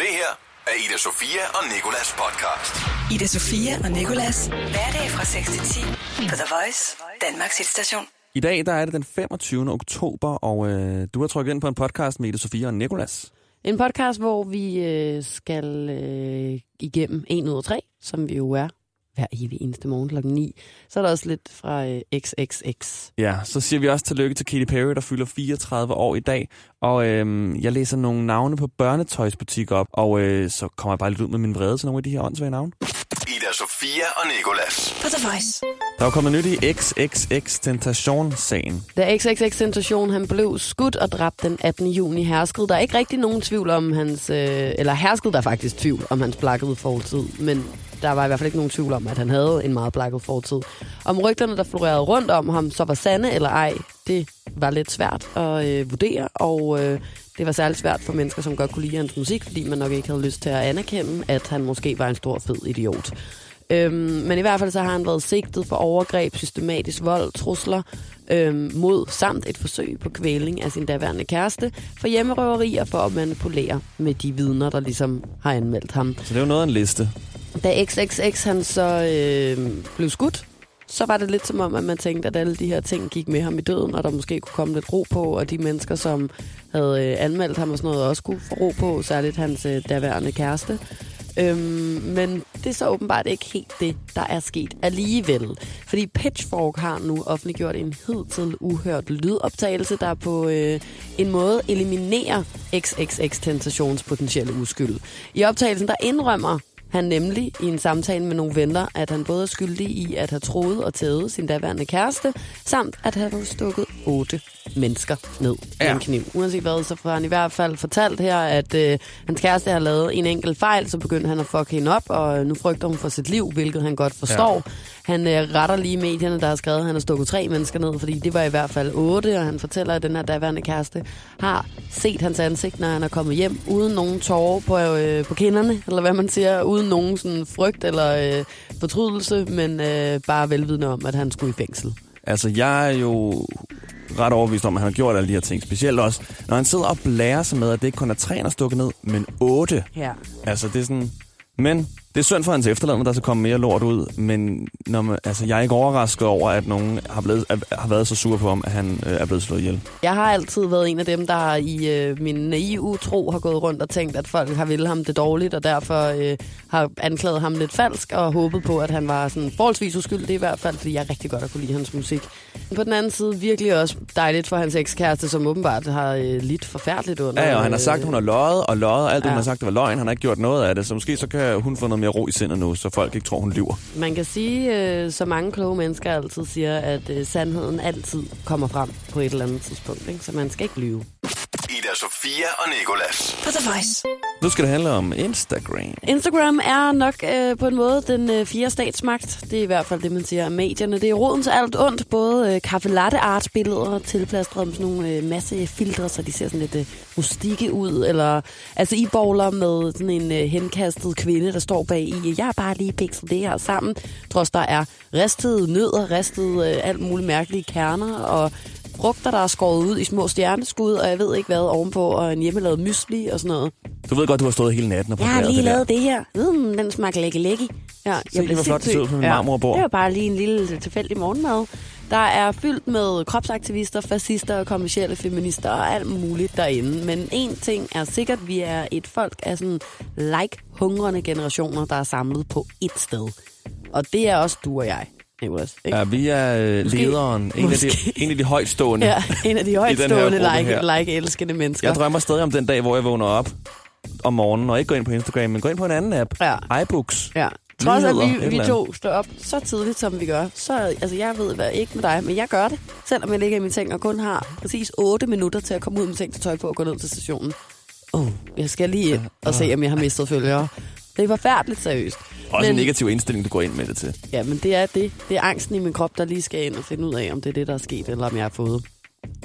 af Ida Sofia og Nikolas podcast. Ida Sofia og Nikolas. Hverdag fra 6 til 10 på The Voice, Danmarks hitstation. I dag der er det den 25. oktober, og øh, du har trykket ind på en podcast med Ida Sofia og Nikolas. En podcast, hvor vi øh, skal øh, igennem 1 ud af 3, som vi jo er hver evig eneste morgen klokken 9. Så er der også lidt fra øh, XXX. Ja, så siger vi også tillykke til Katy Perry, der fylder 34 år i dag. Og øh, jeg læser nogle navne på børnetøjsbutikker op, og øh, så kommer jeg bare lidt ud med min vrede til nogle af de her åndssvage navne. Ida Sofia og Nikolas. På The Voice. Der er jo kommet nyt i XXX Tentation-sagen. Da XXX Sensation han blev skudt og dræbt den 18. juni, herskede der ikke rigtig nogen tvivl om hans... Øh, eller herskede der faktisk tvivl om hans blakkede fortid, men der var i hvert fald ikke nogen tvivl om, at han havde en meget blakket fortid. Om rygterne, der florerede rundt om ham, så var sande eller ej, det var lidt svært at øh, vurdere, og øh, det var særligt svært for mennesker, som godt kunne lide hans musik, fordi man nok ikke havde lyst til at anerkende, at han måske var en stor, fed idiot. Øhm, men i hvert fald så har han været sigtet for overgreb, systematisk vold, trusler øhm, mod samt et forsøg på kvæling af sin daværende kæreste for hjemmerøveri og for at manipulere med de vidner, der ligesom har anmeldt ham. Så det er jo noget af en liste. Da XXX han så øh, blev skudt, så var det lidt som om, at man tænkte, at alle de her ting gik med ham i døden, og der måske kunne komme lidt ro på, og de mennesker, som havde øh, anmeldt ham og sådan noget, også kunne få ro på, særligt hans øh, daværende kæreste. Øhm, men det er så åbenbart ikke helt det, der er sket alligevel. Fordi Pitchfork har nu offentliggjort en hidtil uhørt lydoptagelse, der på øh, en måde eliminerer XXX Tentations potentielle uskyld. I optagelsen, der indrømmer han nemlig i en samtale med nogle venner, at han både er skyldig i at have troet og tævet sin daværende kæreste, samt at have stukket otte mennesker ned med Ja. ja. en kniv. Uanset hvad, så får han i hvert fald fortalt her, at øh, hans kæreste har lavet en enkelt fejl, så begyndte han at fuck hende op, og nu frygter hun for sit liv, hvilket han godt forstår. Ja. Han øh, retter lige medierne, der har skrevet, at han har stukket tre mennesker ned, fordi det var i hvert fald otte, og han fortæller, at den her daværende kæreste har set hans ansigt, når han er kommet hjem, uden nogen tårer på, øh, på kinderne, eller hvad man siger, uden nogen sådan frygt eller øh, fortrydelse, men øh, bare velvidende om, at han skulle i fængsel. Altså, jeg er jo ret overbevist om, at han har gjort alle de her ting. Specielt også, når han sidder og blærer sig med, at det ikke kun er tre, han har stukket ned, men otte. Ja. Altså, det er sådan... Men det er synd for hans efterladende, der skal komme mere lort ud. Men når man, altså, jeg er ikke overrasket over, at nogen har, blevet, er- har været så sur på ham, at han øh, er blevet slået ihjel. Jeg har altid været en af dem, der i øh, min naive tro har gået rundt og tænkt, at folk har ville ham det dårligt, og derfor øh, har anklaget ham lidt falsk, og håbet på, at han var sådan forholdsvis uskyldig i hvert fald, fordi jeg rigtig godt har kunne lide hans musik. På den anden side virkelig også dejligt for hans ekskæreste, som åbenbart har øh, lidt forfærdeligt under. øh, Ja, og han har sagt, at hun har løjet og løjet, og alt det, Ja. hun har sagt, det var løgn. Han har ikke gjort noget af det, så måske så kan hun få noget mere ro i sindet nu, så folk ikke tror, hun lyver. Man kan sige, øh, så mange kloge mennesker altid siger, at øh, sandheden altid kommer frem på et eller andet tidspunkt, ikke? så man skal ikke lyve. Ida Sofia og Nikolas. På The Voice. Nu skal det handle om Instagram. Instagram er nok øh, på en måde den øh, fjerde statsmagt. Det er i hvert fald det, man siger om medierne. Det er roden til alt ondt. Både øh, kaffe latte art billeder tilplastret med sådan nogle øh, masse filtre, så de ser sådan lidt øh, rustikke ud. Eller altså i bowler med sådan en øh, henkastet kvinde, der står bag i. Jeg har bare lige pikset det her sammen. Trods der er ristede nødder, ristede øh, alt muligt mærkelige kerner og frugter, der er skåret ud i små stjerneskud, og jeg ved ikke hvad ovenpå, og en hjemmelavet mysli og sådan noget. Du ved godt, du har stået hele natten og Jeg har præpareret lige det der. lavet det her. Mm, den smager lække lække. Ja, jeg Se, hvor flot det ser ud på min marmorbord. Det var bare lige en lille øh, tilfældig morgenmad. Der er fyldt med kropsaktivister, fascister og kommersielle feminister og alt muligt derinde. Men en ting er sikkert, vi er et folk af sådan like-hungrende generationer, der er samlet på ét sted. Og det er også du og jeg, Nicolas. Ikke? Ja, Ja. vi er øh, lederen. En af, de, Måske. en af de højtstående. ja, en af de højtstående gruppe her. like, like-elskende mennesker. Jeg drømmer stadig om den dag, hvor jeg vågner op om morgenen, og ikke går ind på Instagram, men går ind på en anden app. Ja. iBooks. Ja. Trods at Nyheder, et vi, vi eller to står op så tidligt, som vi gør, så altså, jeg ved hvad, ikke med dig, men jeg gør det. Selvom jeg ligger i min seng og kun har præcis 8 minutter til at komme ud med ting til tøj på og gå ned til stationen. Oh, jeg skal lige ind og se, om jeg har mistet følgere. Det er forfærdeligt seriøst. Også en men, negativ indstilling, du går ind med det til. ja, men det er det. Det er angsten i min krop, der lige skal ind og finde ud af, om det er det, der er sket, eller om jeg har fået.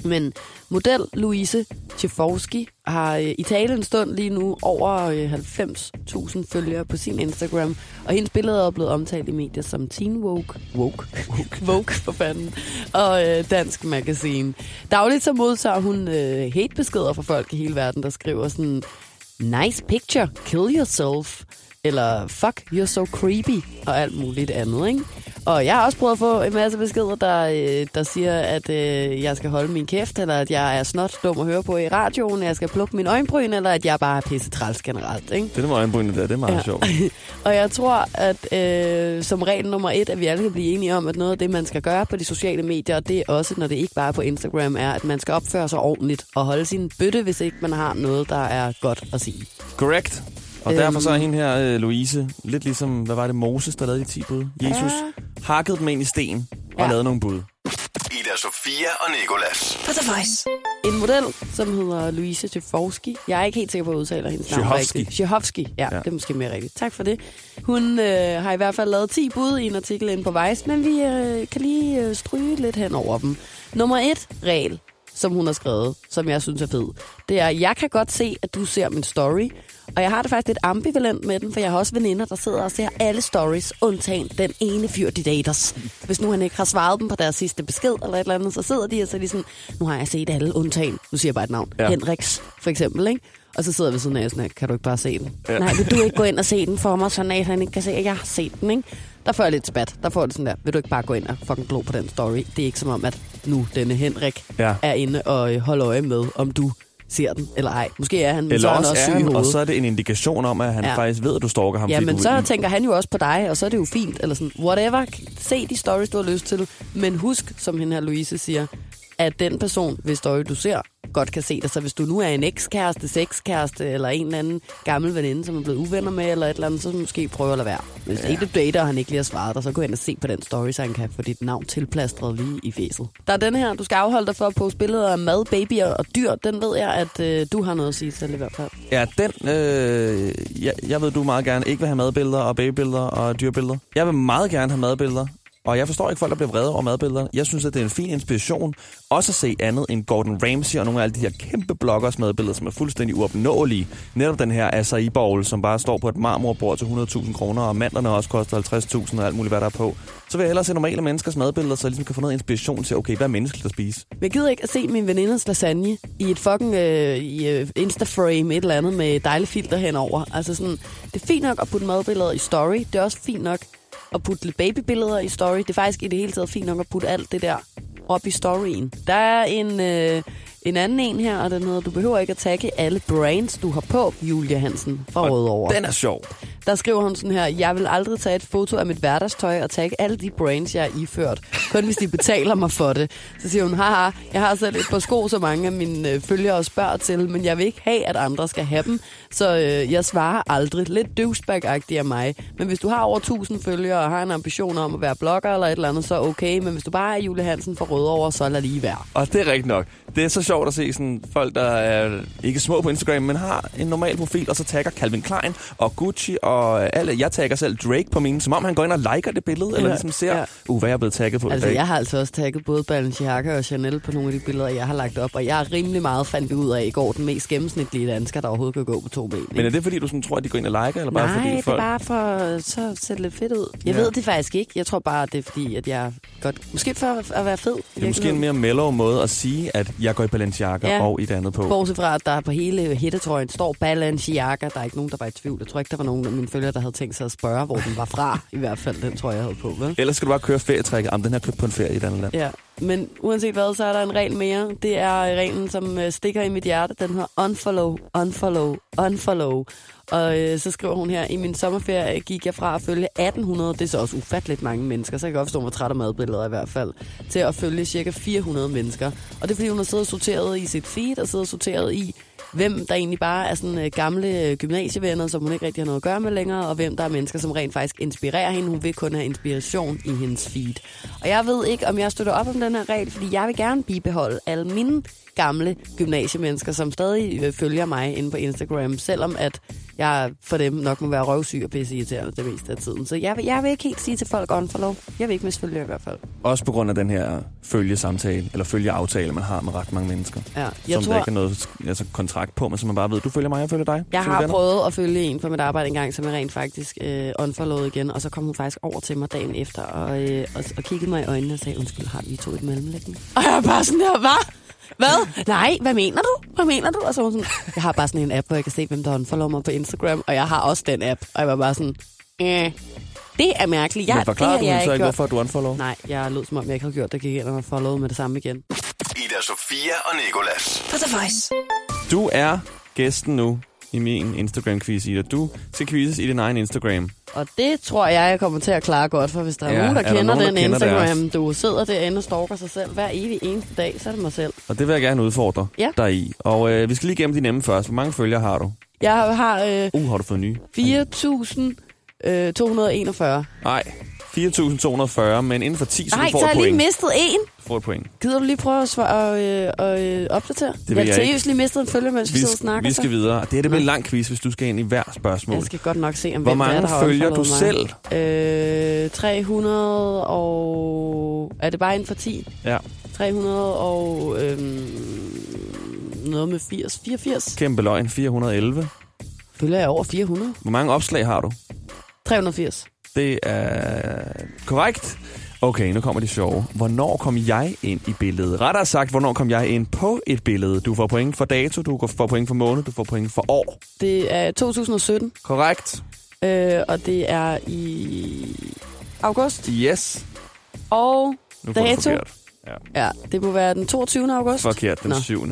Men model Louise Tjeforski har øh, i tale en stund lige nu over øh, 90.000 følgere på sin Instagram, og hendes billeder er blevet omtalt i medier som Teen Woke, Woke, Woke, Woke for fanden, og øh, Dansk Magazine. Dagligt så modtager hun øh, hatebeskeder fra folk i hele verden, der skriver sådan, nice picture, kill yourself, eller fuck, you're so creepy, og alt muligt andet, ikke? Og jeg har også prøvet at få en masse beskeder, der, øh, der siger, at øh, jeg skal holde min kæft, eller at jeg er snot dum at høre på i radioen, at jeg skal plukke min øjenbryn, eller at jeg bare er pisse træls generelt, ikke? Det der med øjenbrynene der, det er meget ja. sjovt. og jeg tror, at øh, som regel nummer et, at vi alle kan blive enige om, at noget af det, man skal gøre på de sociale medier, og det er også, når det ikke bare er på Instagram, er, at man skal opføre sig ordentligt og holde sin bøtte, hvis ikke man har noget, der er godt at sige. Correct. Og Øhm. derfor så er hende her, øh, Louise, lidt ligesom, hvad var det, Moses, der lavede de 10 bud? Jesus ja. hakkede dem ind i sten og ja. Ja. lavede nogle bud. Ida Sofia og Nikolas. På The Voice. En model, som hedder Louise Tjefovski. Jeg er ikke helt sikker på, at jeg udtaler hendes navn Tjefovski. rigtigt. Tjefovski. Ja, Ja. ja, det er måske mere rigtigt. Tak for det. Hun øh, har i hvert fald lavet 10 bud i en artikel inde på Vice, men vi øh, kan lige øh, stryge lidt hen over dem. Nummer et regel, som hun har skrevet, som jeg synes er fed, det er, jeg kan godt se, at du ser min story, og jeg har det faktisk lidt ambivalent med den, for jeg har også veninder, der sidder og ser alle stories, undtagen den ene fyr, de daters. Hvis nu han ikke har svaret dem på deres sidste besked eller et eller andet, så sidder de og så er de sådan, nu har jeg set alle, undtagen, nu siger jeg bare et navn, Ja. ja. Henriks, for eksempel, ikke? Og så sidder vi sådan af, sådan, her, kan du ikke bare se den? Ja. Ja. Nej, vil du ikke gå ind og se den for mig, så at han ikke kan se, at jeg har set den, ikke? Der får jeg lidt spat. Der får det sådan der, vil du ikke bare gå ind og fucking glo på den story? Det er ikke som om, at nu denne Henrik Ja. ja. er inde og øh, holder øje med, om du ser den eller ej. Måske er han, men Eller så er han også også er syg i han, og hovedet. så er det en indikation om, at han ja. Ja. faktisk ved, at du stalker ham. Ja, fordi men du, så tænker han jo også på dig, og så er det jo fint, eller sådan, whatever, se de stories, du har lyst til, men husk, som hende her Louise siger, at den person, hvis story du ser, godt kan se dig. Så hvis du nu er en ekskæreste, sexkæreste, eller en eller anden gammel veninde, som er blevet uvenner med, eller et eller andet, så måske prøve at lade være. Hvis ja. ikke du dater, og han ikke lige har svaret dig, så gå hen og se på den story, så han kan få dit navn tilplastret lige i fæset. Der er den her, du skal afholde dig for at poste billeder af mad, babyer og dyr. Den ved jeg, at øh, du har noget at sige til i hvert fald. Ja, den... Øh, jeg, jeg ved, du meget gerne ikke vil have madbilleder og babybilleder og dyrebilleder. Jeg vil meget gerne have madbilleder. Og jeg forstår ikke folk, der bliver vrede over madbillederne. Jeg synes, at det er en fin inspiration også at se andet end Gordon Ramsay og nogle af alle de her kæmpe bloggers madbilleder, som er fuldstændig uopnåelige. Netop den her acai bowl, som bare står på et marmorbrød til 100.000 kroner, og mandlerne også koster 50.000 og alt muligt, hvad der er på. Så vil jeg hellere se normale menneskers madbilleder, så jeg ligesom kan få noget inspiration til, okay, hvad er menneskeligt at spise? Men jeg gider ikke at se min venindes lasagne i et fucking øh, i, øh, instaframe, et eller andet med dejlige filter henover. Altså sådan, det er fint nok at putte madbilleder i story. Det er også fint nok at putte lidt babybilleder i story. Det er faktisk i det hele taget fint nok at putte alt det der op i storyen. Der er en, øh, en anden en her, og den hedder, du behøver ikke at tagge alle brands, du har på, Julia Hansen fra Rødovre. Den er sjov. Der skriver hun sådan her, jeg vil aldrig tage et foto af mit hverdagstøj og tagge alle de brands, jeg har iført. Kun hvis de betaler mig for det. Så siger hun, haha, jeg har selv et par sko, som mange af mine øh, følgere spørger til, men jeg vil ikke have, at andre skal have dem. Så øh, jeg svarer aldrig. Lidt douchebag af mig. Men hvis du har over 1000 følgere og har en ambition om at være blogger eller et eller andet, så okay. Men hvis du bare er Jule Hansen fra Rødovre, så lad lige være. Og det er rigtigt nok. Det er så sjovt at se sådan folk, der er ikke små på Instagram, men har en normal profil, og så tagger Calvin Klein og Gucci og øh, alle. Jeg tagger selv Drake på mine, som om han går ind og liker det billede, ja, eller Ja, ligesom ser, ja. ja. uh, hvad jeg er blevet tagget på i Altså, dag." jeg har altså også tagget både Balenciaga og Chanel på nogle af de billeder, jeg har lagt op, og jeg er rimelig meget fandt vi ud af i går, den mest gennemsnitlige dansker, der overhovedet kan gå på to ben. ikke? Men er det fordi, du sådan tror, at de går ind og liker, eller bare Nej, fordi det er folk... bare for øh, så at sætte lidt fedt ud. Jeg Ja. ja. ved det faktisk ikke. Jeg tror bare, det er fordi, at jeg godt... Måske for at- at være fed. i Det er måske en virkeligheden. mere mellow måde at sige, at jeg går i Balenciaga ja. Ja. og i det andet på. Bortset fra, at der på hele hættetrøjen står Balenciaga. Der er ikke nogen, der var i tvivl. Jeg tror ikke, der var nogen af mine følgere, der havde tænkt sig at spørge, hvor den var fra. I hvert fald den tror jeg, jeg havde på, vel? Ellers skal du bare køre ferietrækket. Jamen, den her købt på en ferie i et andet land. Ja, men uanset hvad, så er der en regel mere. Det er reglen, som øh, stikker i mit hjerte. Den hedder unfollow, unfollow, unfollow. Og øh, så skriver hun her, i min sommerferie gik jeg fra at følge 1800, det er så også ufatteligt mange mennesker, så jeg kan godt forstå, hvor træt af madbilleder i hvert fald, til at følge cirka 400 mennesker. Og det er fordi, hun har siddet og sorteret i sit feed, og siddet og sorteret i, hvem der egentlig bare er sådan øh, gamle øh, gymnasievenner, som hun ikke rigtig har noget at gøre med længere, og hvem der er mennesker, som rent faktisk inspirerer hende. Hun vil kun have inspiration i hendes feed. Og jeg ved ikke, om jeg støtter op om den her regel, fordi jeg vil gerne bibeholde alle mine gamle gymnasiemennesker, som stadig øh, følger mig inde på Instagram, selvom at jeg for dem nok må være røvsyg og pisse irriterende det meste af tiden. Så jeg vil, jeg vil ikke helt sige til folk unfollow. Jeg vil ikke misfølge jer i hvert fald. Også på grund af den her følgesamtale, eller følgeaftale, man har med ret mange mennesker. Ja, jeg som tror- der ikke er noget altså, kontrakt på, men som man bare ved, du følger mig, jeg følger dig. Jeg Så vi har venner. prøvet at følge en på mit arbejde engang, som jeg rent faktisk øh, unfollowede igen, og så kom hun faktisk over til mig dagen efter og, øh, og, og kiggede mig i øjnene og sagde, undskyld, har vi to et mellemlæggende? Og jeg var bare sådan der, hvad? Hvad? Nej, hvad mener du? Hvad mener du? Og så var hun sådan, jeg har bare sådan en app, hvor jeg kan se, hvem der unfollower mig på Instagram, og jeg har også den app. Og jeg var bare sådan, øh, det er mærkeligt. Jeg, Men forklarer det du har jeg hende så ikke, gjort. hvorfor du unfollower? Nej, jeg lød som om, jeg ikke havde gjort det, gik ind og followede med det samme igen. Ida Sofia og Nikolas. På The Voice. Du er gæsten nu i min Instagram-quiz, Ida. Du skal quizzes i din egen Instagram. Og det tror jeg, jeg kommer til at klare godt, for hvis der er Ja, nogen, der er der kender nogen, der den kender det Instagram, du sidder derinde og stalker sig selv hver evig eneste dag, så er det mig selv. Og det vil jeg gerne udfordre Ja. dig i. Og øh, vi skal lige igennem de nemme først. Hvor mange følgere har du? Jeg har øh, Uh, har du fået nye? 4.241. Nej, 4.240, men inden for 10, så Nej, du får så har et jeg lige point. mistet en. Du får et point. Gider du lige prøve at, svare, øh, og, øh, opdatere? vil jeg jeg seriøst ikke. lige mistet en følge, mens vi, sidder og snakker. vi skal så. videre. Det her det bliver en lang quiz, hvis du skal ind i hver spørgsmål. Jeg skal godt nok se, om Hvor hvem det er, mange der har følger du unfollowet mig. selv? Øh, 300 og... Er det bare inden for 10? Ja, 300 og... Øhm, noget med 80. 84? kæmpe løgn. 411. Følger jeg over 400? Hvor mange opslag har du? 380. Det er korrekt. Okay, nu kommer det sjove. Hvornår kom jeg ind i billedet? Rettere sagt, hvornår kom jeg ind på et billede? Du får point for dato, du får point for måned, du får point for år. Det er 2017, Korrekt. øh, og det er i august. Yes. Og Nu får du Dato? forkert. Ja. ja, det må være den 22. august. Forkert, den Nå. 7.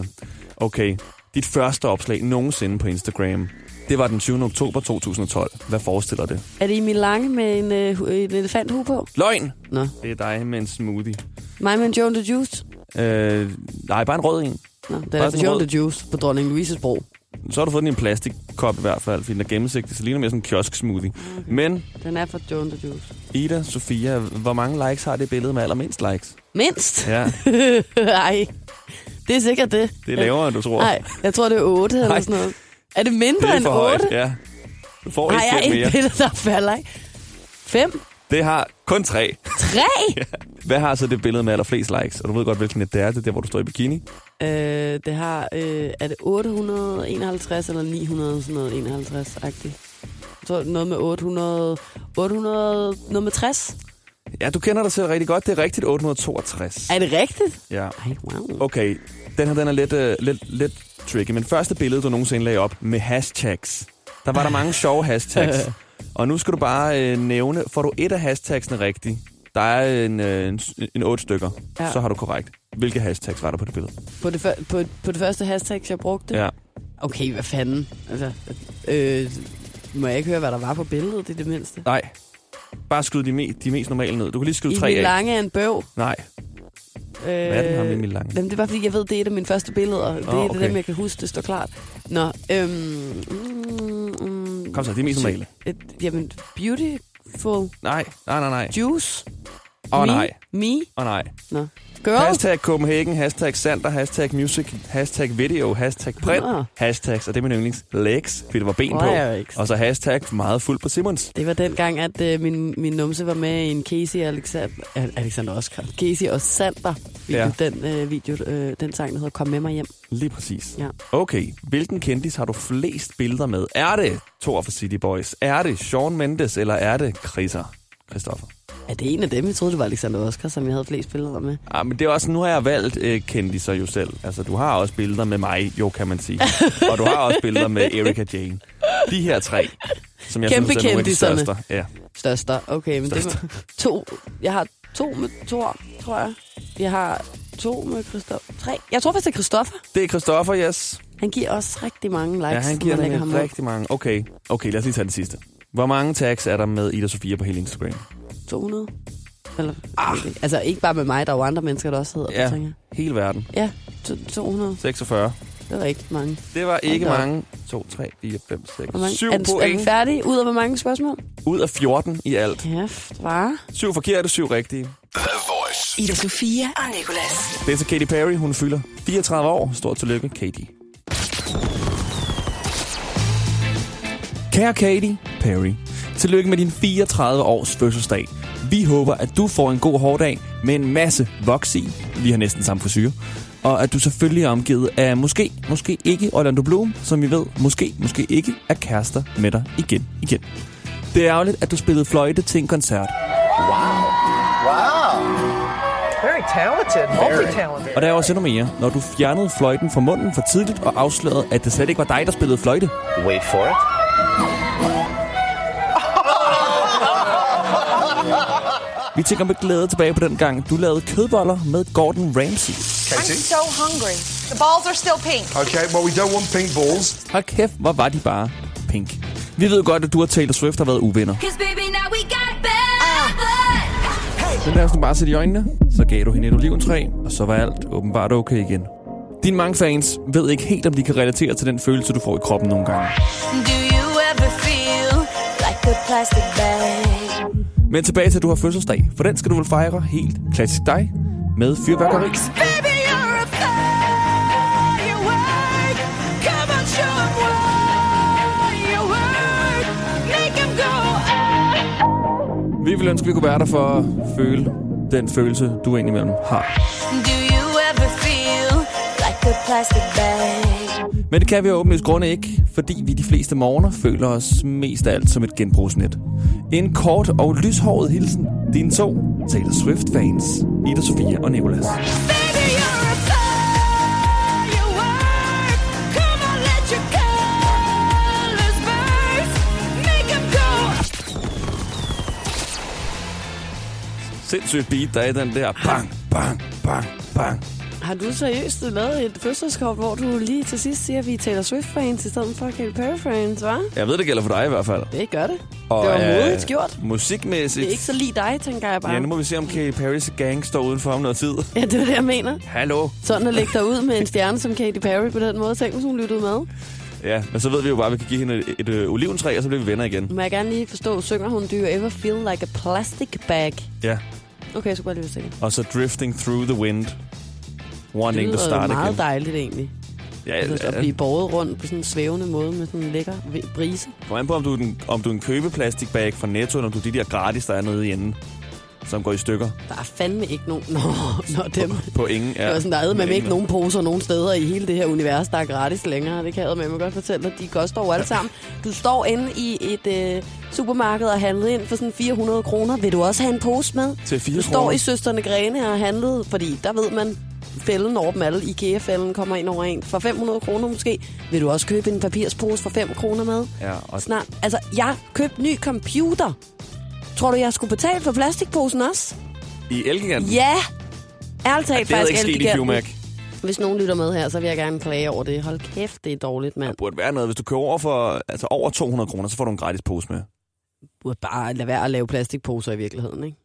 Okay. Dit første opslag nogensinde på Instagram, det var den 20. oktober 2012. Hvad forestiller det? Er det i Milange med en, øh, hu- en elefanthue på? Løgn! Nå. Det er dig med en smoothie. Mig med en Joan the Juice. Øh, nej, bare en rød en. Nå, det Bare er sådan altså Joan rød. the Juice på Dronning Louise's bro. Så har du fået den i en plastikkop i hvert fald, fordi den er gennemsigtig, så ligner mere sådan en kiosk-smoothie. Mm. Okay. Men Den er fra Joan the Juice. Ida, Sofia, hvor mange likes har det billede med allermindst likes? Mindst? Ja, Ej, det er sikkert det. det er lavere, end du tror. Nej, jeg tror, det er 8 eller Nej. sådan noget. Er det mindre det er end for højt. 8? Ja. Du får Har ikke jeg flere et mere. billede, der falder i? 5? Det har kun tre. 3? Hvad har så det billede med allerflest likes? Og du ved godt, hvilken det er. Det er der, hvor du står i bikini. Øh, det har, øh, er det 851 eller 951-agtigt? Jeg tror, noget med 800, 800, noget med 60. Ja, du kender dig selv rigtig godt. Det er rigtigt 862. Er det rigtigt? Ja. Ej, wow. Okay, den her den er lidt, øh, lidt, lidt tricky, men første billede, du nogensinde lagde op med hashtags. Der var der mange sjove hashtags. Og nu skal du bare øh, nævne, får du et af hashtagsene rigtigt, der er en, øh, en, s- en otte stykker, Ja. ja. så har du korrekt. Hvilke hashtags var der på det billede? På det, fø- på, på det første hashtag, jeg brugte? Ja. Okay, hvad fanden? Altså, øh, må jeg ikke høre, hvad der var på billedet, det er det mindste? Nej, bare skyd de, me, de mest normale ned. Du kan lige skyde I tre af. Milange er en bøv. Nej, Øh, er den ham i Milange? Jamen, det er bare fordi, jeg ved, det er et af mine første billeder. Det er Åh, oh, okay. det okay. dem, jeg kan huske, det står klart. Nå, øhm, mm, mm, kom så, de mest normale. Et, jamen, beautiful Nej, nej, nej, nej. juice. Åh oh, me, nej, Me. åh oh, nej. Nå. Girl. Hashtag Copenhagen, hashtag Sander, hashtag music, hashtag video, hashtag print, Ah. hashtags, og det er min yndlings, legs, fordi der var ben Legs. på. Og så hashtag meget fuld på Simons. Det var dengang, at øh, min, min numse var med i en Casey og Alexander, Alexander Oscar. Casey og Sander. Ja. Ja. Den øh, video, øh, den sang, der hedder Kom med mig hjem. Lige præcis. Ja. Okay, hvilken kendis har du flest billeder med? Er det Thor fra City Boys? Er det Sean Mendes, eller er det Chriser? Christoffer. Er det en af dem? Jeg troede, det var Alexander Oscar, som jeg havde flest billeder med. Ah, men det er også, nu har jeg valgt øh, kendiser jo selv. Altså, du har også billeder med mig, jo kan man sige. og du har også billeder med Erika Jane. De her tre, som jeg Kæmpe synes er nogle af de kendiserne. største. Ja. Størster. Okay, men det var to. Jeg har to med Thor, tror jeg. Jeg har to med Christoffer. Tre. Jeg tror faktisk, det er Christoffer. Det er Christoffer, yes. Han giver også rigtig mange likes. Ja, han når giver man lægger dem op. rigtig mange. Okay. okay, lad os lige tage den sidste. Hvor mange tags er der med Ida Sofia på hele Instagram? 200. Eller, ah. Altså ikke bare med mig, der er jo andre mennesker, der også hedder. Ja. Tænker. hele verden. jeg. Ja, to- 200. 46. Det var ikke mange. Det var ikke da op. mange. 2, 3, 4, 5, 6, Hvor mange? 7 er, den, er den point. færdig? Ud af hvor mange spørgsmål? Ud af 14 i alt. Kæft, var. 7 forkerte, 7 rigtige. The Voice. Ida Sofia og Nicolas. Det er til Katy Perry. Hun fylder 34 år. Stort tillykke, Katy. Kære Katy Perry, tillykke med din 34 års fødselsdag. Vi håber, at du får en god hårdag med en masse voks i. Vi har næsten samme frisyr. Og at du selvfølgelig er omgivet af måske, måske ikke Orlando Bloom, som vi ved, måske, måske ikke er kærester med dig igen, igen. Det er ærgerligt, at du spillede fløjte til en koncert. Very talented, multi-talented. Og der er også endnu mere, når du fjernede fløjten fra munden for tidligt og afslørede, at det slet ikke var dig, der spillede fløjte. Wait for it. Vi tænker med glæde tilbage på den gang, du lavede kødboller med Gordon Ramsay. I'm Katie? so hungry. The balls are still pink. Okay, well, we don't want pink balls. Hold kæft, hvor var de bare pink. Vi ved godt, at du og Taylor Swift har været uvenner. Cause baby, now we got bad blood. Men lad os nu bare sætte i øjnene. Så gav du hende et oliventræ, og så var alt åbenbart okay igen. Dine mange fans ved ikke helt, om de kan relatere til den følelse, du får i kroppen nogle gange. Do you ever feel like a plastic bag? Men tilbage til, at du har fødselsdag, for den skal du vel fejre helt klassisk dig med fyrværkeri. Baby, you're a firework. Come on, show 'em why you work. Make 'em go ah. Vi vil ønske, vi kunne være der for at føle den følelse, du indimellem har. Do you ever feel like a plastic bag? Men det kan vi af åbenlyst grunde ikke, fordi vi de fleste morgener føler os mest af alt som et genbrugsnet. En kort og lyshåret hilsen, dine to Taylor Swift-fans, Ida Sofia og Nicolas. Baby, you're a firework. Come on, let your colors burst. Make 'em go Sindssygt beat, der er i den der bang, bang, bang, bang. Har du seriøst lavet et fødselskort, hvor du lige til sidst siger, at vi taler Swift-fans i stedet for Katy Perry-fans, hva'? Jeg ved, det gælder for dig i hvert fald. øh, Det gør det. det var modigt gjort. Musikmæssigt. Det er ikke så lige dig, tænker jeg bare. Ja, nu må vi se, om Katy Perry's gang står udenfor om noget tid. Ja, det er det, jeg mener. Hallo. Sådan at lægge dig ud med en stjerne som Katy Perry på den måde. Tænk, hvis hun lyttede med. Ja, men så ved vi jo bare, at vi kan give hende et, et øh, oliventræ, og så bliver vi venner igen. Må jeg gerne lige forstå, synger hun Do You Ever Feel Like a Plastic Bag? Ja. Okay, jeg skulle bare lige være sikker. Og så Drifting Through the Wind. Det Wanting to lyder jo start meget again. dejligt egentlig. Ja, Altså, at ja, ja. blive båret rundt på sådan en svævende måde med sådan en lækker v- brise. Kom an på, om du, er den, om du er en købeplastikbag fra Netto, eller om du er de der gratis, der er nede i enden, som går i stykker Der er fandme ikke nogen... Nå, nå dem. på ingen. Ja, Det var sådan, der er med ingen- ikke nogen poser nogen steder i hele det her univers, der er gratis længere. Det kan jeg med godt fortælle dig. De koster jo alle sammen. Du står inde i et øh, supermarked og handler ind for sådan 400 kroner. Vil du også have en pose med? Til 4 Du står kroner. i Søsterne Grene og har handlet, fordi der ved man, fælden over dem alle. IKEA-fælden kommer ind over en. For 500 kroner måske. Vil du også købe en papirspose for 5 kroner med? Ja, og Snart. Altså, jeg købte ny computer. Tror du, jeg skulle betale for plastikposen også? i Elgiganten. Ja! Ærligt talt, det havde faktisk ikke sket i Elgiganten. Q-Mac. Hvis nogen lytter med her, så vil jeg gerne klage over det. Hold kæft, det er dårligt, mand. Der burde være noget. Hvis du kører over, for, altså over 200 kroner, så får du en gratis pose med. Du bare lade være at lave plastikposer i virkeligheden, ikke?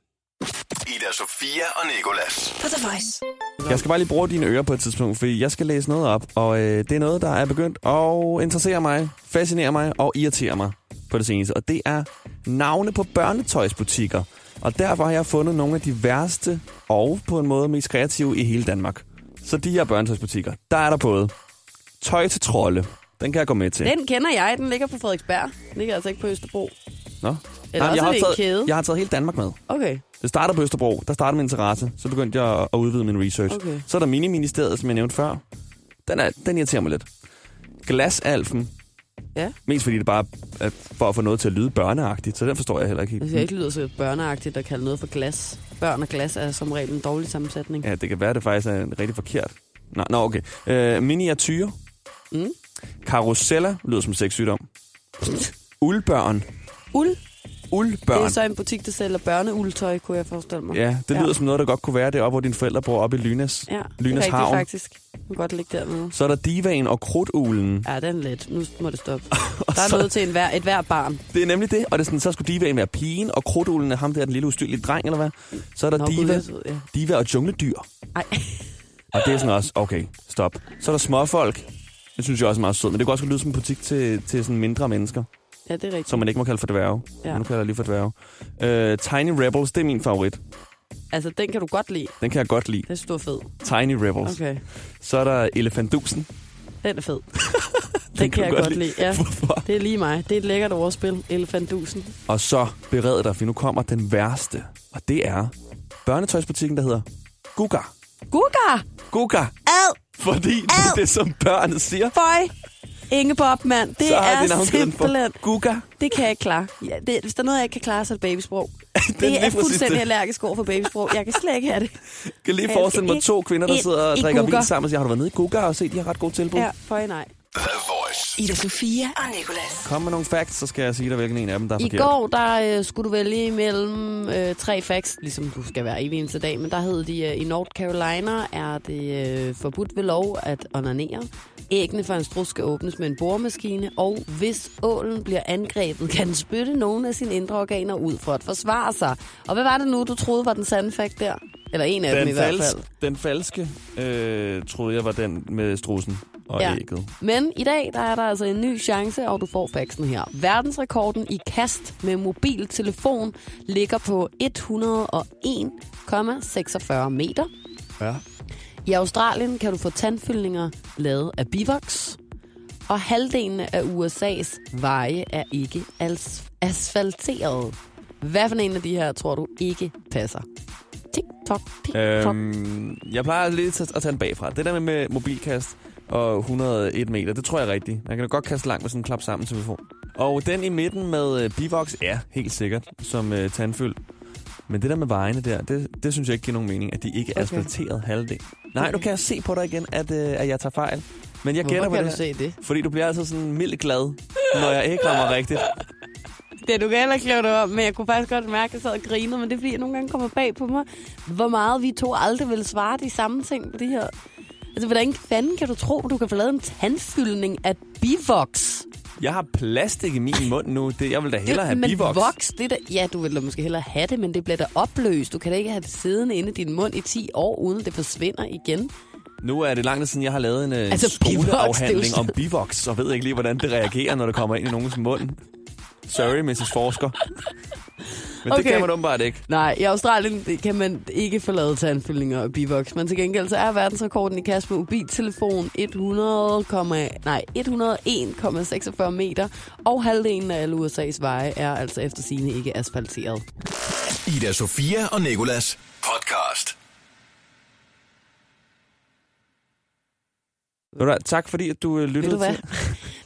Ida Sofia og Nikolas. På The Voice. Jeg skal bare lige bruge dine ører på et tidspunkt, fordi jeg skal læse noget op, og øh, det er noget, der er begyndt at interessere mig, fascinere mig og irritere mig på det seneste. Og det er navne på børnetøjsbutikker. Og derfor har jeg fundet nogle af de værste og på en måde mest kreative i hele Danmark. Så de her børnetøjsbutikker, der er der både tøj til trolde. Den kan jeg gå med til. Den kender jeg. Den ligger på Frederiksberg. Den ligger altså ikke på Østerbro. Nå? Eller også jeg, har er det en taget, kæde. jeg har taget hele Danmark med. Okay. Det starter på Østerbro, der startede min interesse, så begyndte jeg at- at udvide min research. Okay. Så er der miniministeriet, som jeg nævnte før. Den, er, den irriterer mig lidt. Glasalfen. Ja. Mest fordi det bare er for at få noget til at lyde børneagtigt, så den forstår jeg heller ikke Det helt. ser Altså, ikke lyder så børneagtigt at kalde noget for glas. Børn og glas er som regel en dårlig sammensætning. Ja. Ja, det kan være, det faktisk er en rigtig forkert. Nå, nå okay. Øh, miniatyr. Mm. Karusella lyder som sexsygdom. Uldbørn. Uld. Uldbørn. Det er så en butik, der sælger børneultøj, kunne jeg forestille mig. Ja, det lyder som noget, der godt kunne være deroppe, hvor dine forældre bor oppe i Lynas, ja, det er Lynas rigtigt, Havn. faktisk. Du kan godt ligge dernede. Så er der divaen og krudtuglen. Ja, den er let. Nu må det stoppe. Der er så- noget til en hver, et hver barn. Det er nemlig det, og det er sådan, så skulle divaen være pigen, og krudtuglen er ham der, den lille ustyrlige dreng, eller hvad? Så er der Nå, Nå, gud, diva, det ved jeg. diva og jungledyr, Ej, og det er sådan også, okay, stop. Så er der småfolk, det synes jeg også er meget sødt, men det kunne også godt lyde som en butik til, til sådan mindre mennesker, ja, det er rigtigt. som man ikke må kalde for dværge. Ja. Ja. Nu kalder jeg lige for dværge. Øh, Tiny Rebels, det er min favorit. Altså, den kan du godt lide. Den kan jeg godt lide. Den er stor fed. Tiny Rebels. Okay. Okay, Så er der Elefantusen. den er fed. den, Den kan jeg godt lide. Ja, Hvorfor? det er lige mig. Det er et lækkert overspil, Elefantusen. Og så bered dig, for nu kommer den værste, og det er børnetøjsbutikken, der hedder Guga. Guga! Guga! Ad! Fordi det er det, som børnene siger. Føj! Ingebob, mand. Det så har de er navngivet den simpelthen... for Guga. Det kan jeg ikke klare. Ja, det, hvis der er noget, jeg ikke kan klare, så er det babysprog. det, lige det er præcis fuldstændig det. allergisk over for babysprog. Jeg kan slet ikke have det. Jeg kan lige Jeg forestille skal mig to ikke kvinder, der ind sidder og i drikker Guga. vin sammen og siger, har du været nede i Guga og set, de har ret gode tilbud? Ja, for i nej. The Voice. Ida Sofia og Nicolas. Kom med nogle facts, så skal jeg sige dig, hvilken en af dem, der er I forkert. går, der øh, skulle du vælge imellem øh, tre facts, ligesom du skal være evig eneste dag, men der hed de, øh, i North Carolina er det øh, forbudt ved lov at onanere. Æggene fra en strus skal åbnes med en boremaskine, og hvis ålen bliver angrebet, kan den spytte nogle af sine indre organer ud for at forsvare sig. Og hvad var det nu, du troede var den sande fact der? Eller en af dem i Den, hvert fals, fald. den falske, øh, troede jeg var den med strusen og ja. ægget. Men i dag der er der altså en ny chance, og du får faxen her. Verdensrekorden i kast med mobiltelefon ligger på 101,46 meter. Ja. I Australien kan du få tandfyldninger lavet af bivoks. Og halvdelen af USA's veje er ikke as- asfalteret. Hvad for en af de her tror du ikke passer? Tik-tok, tik-tok. Øhm, jeg plejer lidt at at tage den bagfra. Det der med mobilkast og 101 meter, det tror jeg er rigtigt. Man kan da godt kaste langt med sådan en klap sammen telefon. Og den i midten med øh, bivox er helt sikkert som øh, tandfyld. Men det der med vejene der, det, det synes jeg ikke giver nogen mening, at de ikke er Okay. asfalteret halvdel. Nej, nu Okay. kan jeg se på dig igen, at, øh, at jeg tager fejl. Men jeg gætter Hvorfor på kan det du her. se det? Fordi du bliver altså sådan mildt glad, når jeg ikke rammer rigtigt. Det du kan heller ikke lave det om, men jeg kunne faktisk godt mærke, at jeg sad og grinede, men det er fordi, jeg nogle gange kommer bag på mig, hvor meget vi to aldrig ville svare de samme ting på det her. Altså, hvordan fanden kan du tro, du kan få lavet en tandfyldning af bivoks? Jeg har plastik i min mund nu. Det, jeg vil da hellere have men bivox. voks, det der, ja, du ville da måske hellere have det, men det bliver da opløst. Du kan da ikke have det siddende inde i din mund i 10 år, uden det forsvinder igen. Nu er det lang tid siden, jeg har lavet en altså, Altså, bivoks, det er jo skoleafhandling sådan- om bivox, og ved ikke lige, hvordan det reagerer, når det kommer ind i nogens mund. Sorry, Mrs. Forsker. Men okay. det Okay. kan man åbenbart ikke. Nej, i Australien kan man ikke få lavet tandfyldninger og bivoks, men til gengæld så er verdensrekorden i kast med mobiltelefon 100, komma- nej, 101,46 meter, og halvdelen af alle USA's veje er altså efter sine ikke asfalteret. Ida Sofia og Nikolas podcast. Ved du hvad, Tak fordi, at du øh, lyttede Ved du hvad? til...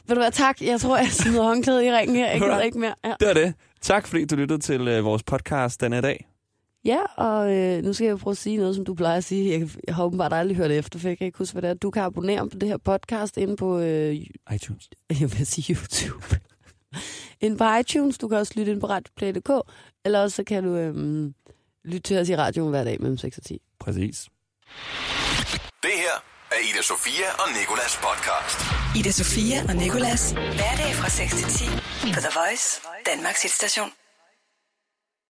Ved du hvad, tak. Jeg tror, jeg smider håndklædet i ringen her. Jeg gider ikke mere. Ja, Det var det. Tak fordi, du lyttede til øh, vores podcast den her dag. ja og øh, nu skal jeg prøve at sige noget, som du plejer at sige. Jeg, jeg har åbenbart aldrig hørt efter, for jeg kan ikke huske, hvad det er. Du kan abonnere på det her podcast inde på øh, iTunes. jeg vil sige YouTube. ind på iTunes, du kan også lytte ind på radioplay.dk, eller også så kan du øhm, lytte til os i radioen hver dag mellem 6 og 10. Præcis. Det her er Ida Sofia og Nikolas podcast. Ida Sofia og Nicolas. Hverdag fra 6 til 10 på The Voice, Danmarks hitstation.